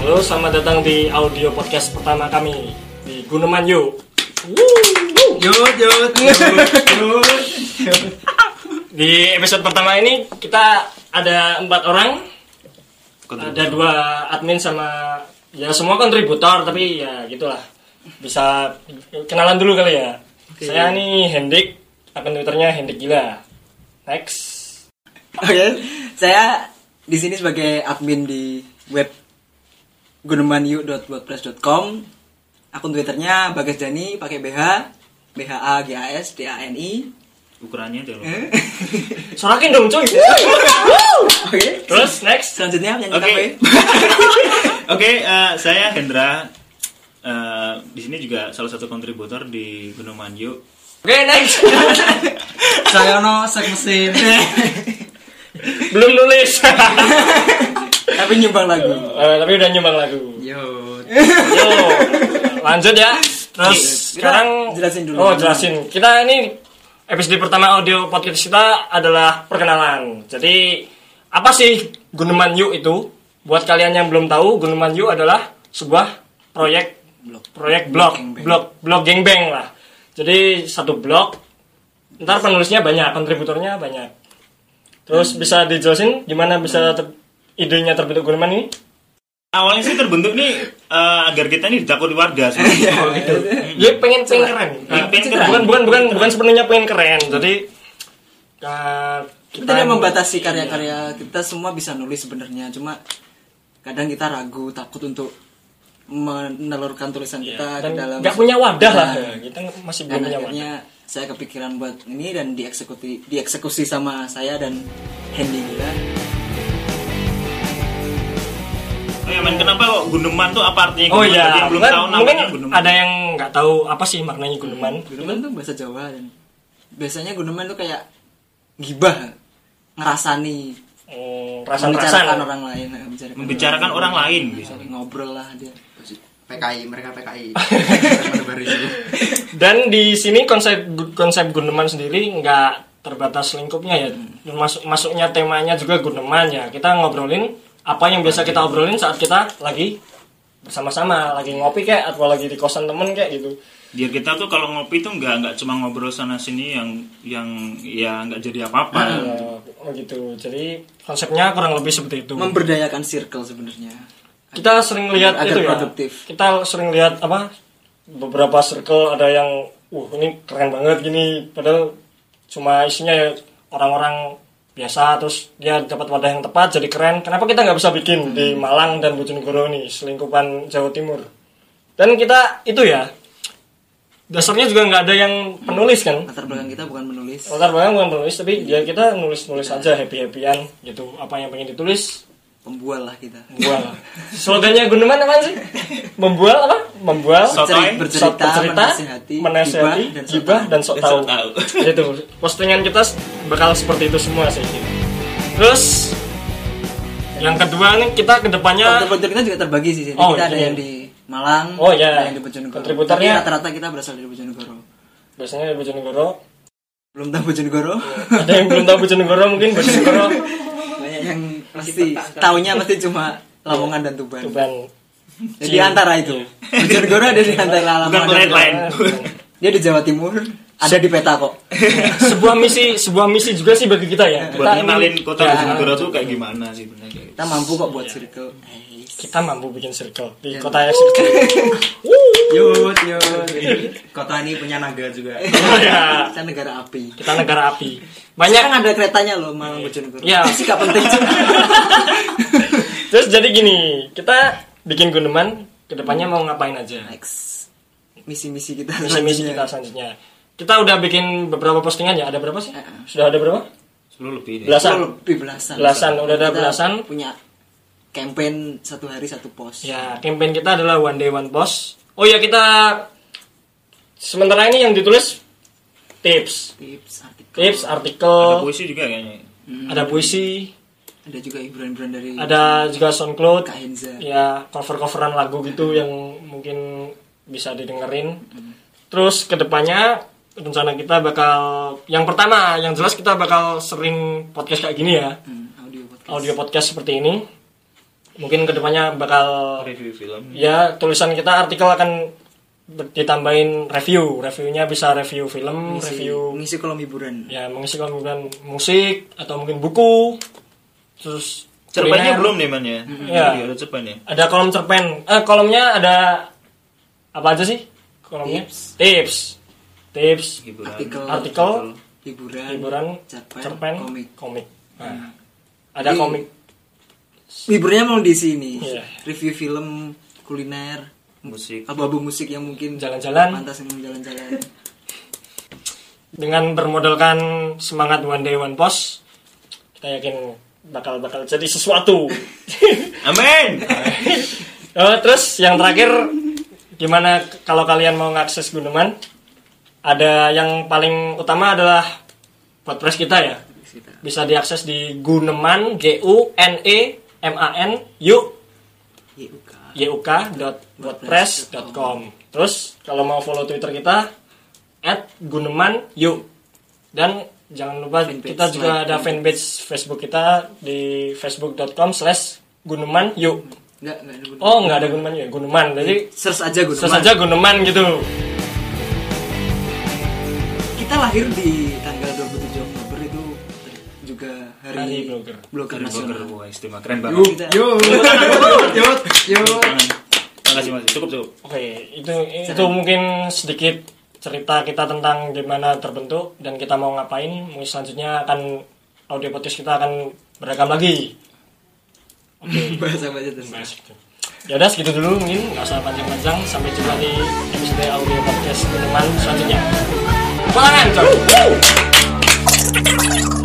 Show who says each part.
Speaker 1: Halo, selamat datang di audio podcast pertama kami di Guneman Yuk.
Speaker 2: Yud, yud, yud, yud.
Speaker 1: Di episode pertama ini kita ada empat orang, ada dua admin sama ya semua kontributor tapi ya gitulah. Bisa kenalan dulu kali ya. Saya nih Hendik, akun twitternya Hendik Gila. Next.
Speaker 3: Oke, saya di sini sebagai admin di web gunemanyu.wordpress.com. Akun Twitternya Bagas Dani pakai BH B H A G A S D A N I.
Speaker 2: Ukurannya deh lo.
Speaker 3: Eh,
Speaker 1: Sorakin dong cuy.
Speaker 3: Oke.
Speaker 1: Terus next.
Speaker 3: Selanjutnya penyanyi
Speaker 2: Oke.
Speaker 3: kafe.
Speaker 2: Oke, eh, saya Hendra. Eh, di sini juga salah satu kontributor di Gunung Manju.
Speaker 1: Oke, next.
Speaker 3: Saya no sek mesin.
Speaker 1: Belum nulis.
Speaker 3: Tapi nyumbang lagu.
Speaker 1: Eh, tapi udah nyumbang lagu.
Speaker 3: Yud.
Speaker 1: Yo, lanjut ya. Terus
Speaker 3: Kita
Speaker 1: sekarang
Speaker 3: jelasin dulu.
Speaker 1: Oh, jelasin. Kita ini episode pertama audio podcast kita adalah perkenalan. Jadi apa sih Guneman Yu itu? Buat kalian yang belum tahu, Guneman Yu adalah sebuah proyek
Speaker 3: Blog.
Speaker 1: proyek blog,
Speaker 3: Gangbang.
Speaker 1: blog, blog gengbang lah. Jadi satu blog ntar penulisnya banyak, kontributornya banyak. Terus bisa dijelasin gimana bisa ter- idenya terbentuk Guneman ini?
Speaker 2: Awalnya sih terbentuk nih eh, agar kita nih ditakut di warga. Oh sebenarnya.
Speaker 1: Iya. Dia pengen pengen keren.
Speaker 2: Pengen
Speaker 1: Pengen
Speaker 2: keren.
Speaker 1: Bukan bukan bukan bukan sepenuhnya pengen keren. Jadi eh,
Speaker 3: Kita yang membatasi
Speaker 1: Iya.
Speaker 3: karya-karya kita semua bisa nulis sebenarnya. Cuma kadang kita ragu, takut untuk menelurkan tulisan kita
Speaker 1: Iya. dan
Speaker 3: ke dalam
Speaker 1: nggak punya wadah lah.
Speaker 3: Nah.
Speaker 1: Kita masih belum
Speaker 3: dan
Speaker 1: punya wadah.
Speaker 3: akhirnya
Speaker 1: iya.
Speaker 3: saya kepikiran buat ini dan dieksekusi dieksekusi sama saya dan Hendy Gila
Speaker 2: Oh ya, men, kenapa kok Guneman tuh apa artinya?
Speaker 1: Oh
Speaker 2: Guneman? Bagi
Speaker 1: iya,
Speaker 2: yang belum
Speaker 1: mungkin,
Speaker 2: tahu
Speaker 1: mungkin
Speaker 2: namanya Guneman.
Speaker 1: ada yang nggak tahu apa sih maknanya guneman.
Speaker 3: Guneman tuh bahasa Jawa dan biasanya guneman tuh kayak gibah ngerasani
Speaker 1: Hmm,
Speaker 3: membicarakan
Speaker 1: rasan-rasan.
Speaker 3: orang lain nah, membicarakan
Speaker 2: membicarakan orang lain. gitu. Bisa.
Speaker 3: lain. ngobrol lah dia
Speaker 4: PKI mereka PKI baru
Speaker 1: Dan di sini konsep konsep guneman sendiri nggak terbatas lingkupnya ya. Masuk masuknya temanya juga guneman ya. Kita ngobrolin apa yang biasa kita obrolin saat kita lagi bersama-sama lagi ngopi kayak atau lagi di kosan temen kayak gitu.
Speaker 2: Biar kita tuh kalau ngopi tuh nggak nggak cuma ngobrol sana sini yang yang ya nggak jadi apa-apa.
Speaker 1: Oh gitu. Jadi konsepnya kurang lebih seperti itu.
Speaker 3: memberdayakan circle sebenarnya
Speaker 1: kita sering lihat
Speaker 3: Agar
Speaker 1: itu ya.
Speaker 3: produktif.
Speaker 1: Kita sering lihat apa beberapa circle ada yang uh ini keren banget gini padahal cuma isinya ya orang-orang biasa terus dia dapat wadah yang tepat jadi keren. Kenapa kita nggak bisa bikin di Malang dan Bojonegoro nih selingkupan Jawa Timur? Dan kita itu ya dasarnya juga nggak ada yang penulis kan?
Speaker 3: latar belakang kita bukan menulis
Speaker 1: Latar belakang bukan penulis tapi dia kita nulis-nulis aja happy-happyan gitu apa yang pengen ditulis
Speaker 3: pembual lah kita
Speaker 1: bual slogannya Guneman apa sih membual apa membual
Speaker 2: Sok
Speaker 3: Berceri-
Speaker 2: Sotoy,
Speaker 1: sok
Speaker 3: bercerita,
Speaker 1: bercerita
Speaker 3: menasihati,
Speaker 1: menasihati
Speaker 3: gibah, dan sok
Speaker 1: gibah
Speaker 3: tahu.
Speaker 1: dan sok tahu
Speaker 2: Tahu.
Speaker 1: itu postingan kita bakal seperti itu semua sih terus yang kedua nih kita kedepannya
Speaker 3: kontributor kita juga terbagi sih. Jadi
Speaker 1: Eh, Oh,
Speaker 3: kita ada
Speaker 1: iya.
Speaker 3: yang di Malang,
Speaker 1: Oh, iya.
Speaker 3: ada yang di Bojonegoro.
Speaker 1: Kontributornya-
Speaker 3: Tapi rata-rata kita berasal dari Bojonegoro.
Speaker 1: biasanya di Bojonegoro
Speaker 3: Belum tahu Bojonegoro?
Speaker 1: ada yang belum tahu Bojonegoro mungkin Bojonegoro
Speaker 4: Iya.
Speaker 3: Banyak yang pasti taunya pasti cuma Lamongan dan Tuban.
Speaker 1: Tuban Iya.
Speaker 3: Jadi antara itu. Bojonegoro ada di antara
Speaker 2: Bukan
Speaker 3: Lamongan. dan
Speaker 2: pelet lain.
Speaker 1: Tuban.
Speaker 3: Tuban. Dia di Jawa Timur, ada di peta kok.
Speaker 1: sebuah misi sebuah misi juga sih bagi kita ya
Speaker 2: Buat
Speaker 1: ingin-
Speaker 2: ngenalin kota
Speaker 1: Ya.
Speaker 2: Bojonegoro tuh kayak gimana sih bener kayak gitu.
Speaker 3: Kita mampu kok
Speaker 1: Iya.
Speaker 3: buat circle.
Speaker 1: kita mampu bikin circle di kota yang circle
Speaker 4: yud yud kota ini punya naga juga
Speaker 1: Oh, ya.
Speaker 3: Iya. Kita negara api.
Speaker 1: kita negara api
Speaker 3: Sekarang
Speaker 1: banyak
Speaker 3: ada keretanya loh Malang Bojonegoro.
Speaker 1: Iya.
Speaker 3: Sih gak penting juga.
Speaker 1: terus jadi gini kita bikin guneman kedepannya
Speaker 2: Hmm.
Speaker 1: mau ngapain aja
Speaker 2: Nah,
Speaker 3: Next. Misi-misi kita
Speaker 1: misi-misi
Speaker 3: selanjutnya.
Speaker 1: kita selanjutnya kita udah bikin beberapa postingan ya ada berapa sih sudah ada berapa
Speaker 2: Iya, Sepuluh lebih deh.
Speaker 1: belasan
Speaker 3: lebih belasan
Speaker 1: Belasan, udah ada
Speaker 3: Kita
Speaker 1: belasan.
Speaker 3: punya campaign satu hari satu pos
Speaker 1: ya campaign kita adalah one day one post oh ya kita sementara ini yang ditulis tips tips
Speaker 3: tips artikel
Speaker 2: Ada
Speaker 1: artikel
Speaker 2: puisi juga kayaknya.
Speaker 1: ada puisi
Speaker 3: ada juga hiburan-hiburan dari
Speaker 1: ada juga soundcloud
Speaker 3: Kak Henza
Speaker 1: ya cover coveran lagu gitu yang mungkin bisa didengerin terus kedepannya rencana kita bakal yang pertama yang jelas kita bakal sering podcast kayak gini ya
Speaker 3: Hmm, audio podcast
Speaker 1: audio podcast seperti ini mungkin kedepannya bakal
Speaker 2: review film
Speaker 1: ya tulisan kita artikel akan ber- ditambahin review reviewnya bisa review film
Speaker 3: Ngisi-
Speaker 1: review
Speaker 3: ngisi kolom hiburan
Speaker 1: ya mengisi kemungkinan musik atau mungkin buku terus
Speaker 2: cerpennya
Speaker 1: kuliner.
Speaker 2: belum nih man ya
Speaker 1: Iya.
Speaker 2: Iya, ada cerpen ya
Speaker 1: ada kolom cerpen eh kolomnya ada apa aja sih kolomnya tips tips,
Speaker 2: hiburan
Speaker 3: Artikel.
Speaker 1: artikel
Speaker 3: hiburan
Speaker 1: hiburan
Speaker 3: cerpen,
Speaker 1: cerpen
Speaker 3: komik. Hmm.
Speaker 1: komik nah, ada
Speaker 3: Jadi-
Speaker 1: komik
Speaker 3: hiburannya mau di sini
Speaker 1: Iya.
Speaker 3: review film kuliner
Speaker 2: musik
Speaker 3: abu-abu musik yang mungkin
Speaker 1: jalan-jalan
Speaker 3: pantas yang jalan-jalan
Speaker 1: dengan bermodalkan semangat one day one post kita yakin bakal bakal jadi sesuatu
Speaker 2: amin
Speaker 1: Eh, terus yang terakhir gimana k- kalau kalian mau ngakses Gunuman ada yang paling utama adalah WordPress kita ya
Speaker 3: Kita.
Speaker 1: bisa diakses di Guneman G U N E M A N U
Speaker 3: YUK
Speaker 1: yuk.wordpress.com terus kalau mau follow twitter kita at guneman yuk dan jangan lupa
Speaker 3: Fanpage,
Speaker 1: kita juga
Speaker 3: like,
Speaker 1: ada fanpage facebook kita di facebook.com slash guneman yuk
Speaker 3: nggak nggak ada
Speaker 1: oh nggak ada guneman yuk guneman jadi
Speaker 3: search aja Gunawan.
Speaker 1: search aja guneman gitu
Speaker 3: kita lahir di tanggal 27 Oktober itu juga hari,
Speaker 1: Hari blogger.
Speaker 3: blogger
Speaker 2: Keren
Speaker 3: nasional
Speaker 2: banget, wah istimewa keren
Speaker 3: Yuk,
Speaker 2: banget
Speaker 3: yuk, yuk, yuk.
Speaker 2: makasih makasih cukup cukup
Speaker 1: oke itu itu mungkin sedikit cerita kita tentang gimana terbentuk dan kita mau ngapain mungkin selanjutnya akan audio podcast kita akan beragam lagi
Speaker 3: bahas apa aja terus
Speaker 1: Ya udah segitu dulu mungkin nggak usah panjang-panjang sampai jumpa di episode audio podcast teman selanjutnya. Pulangan coy.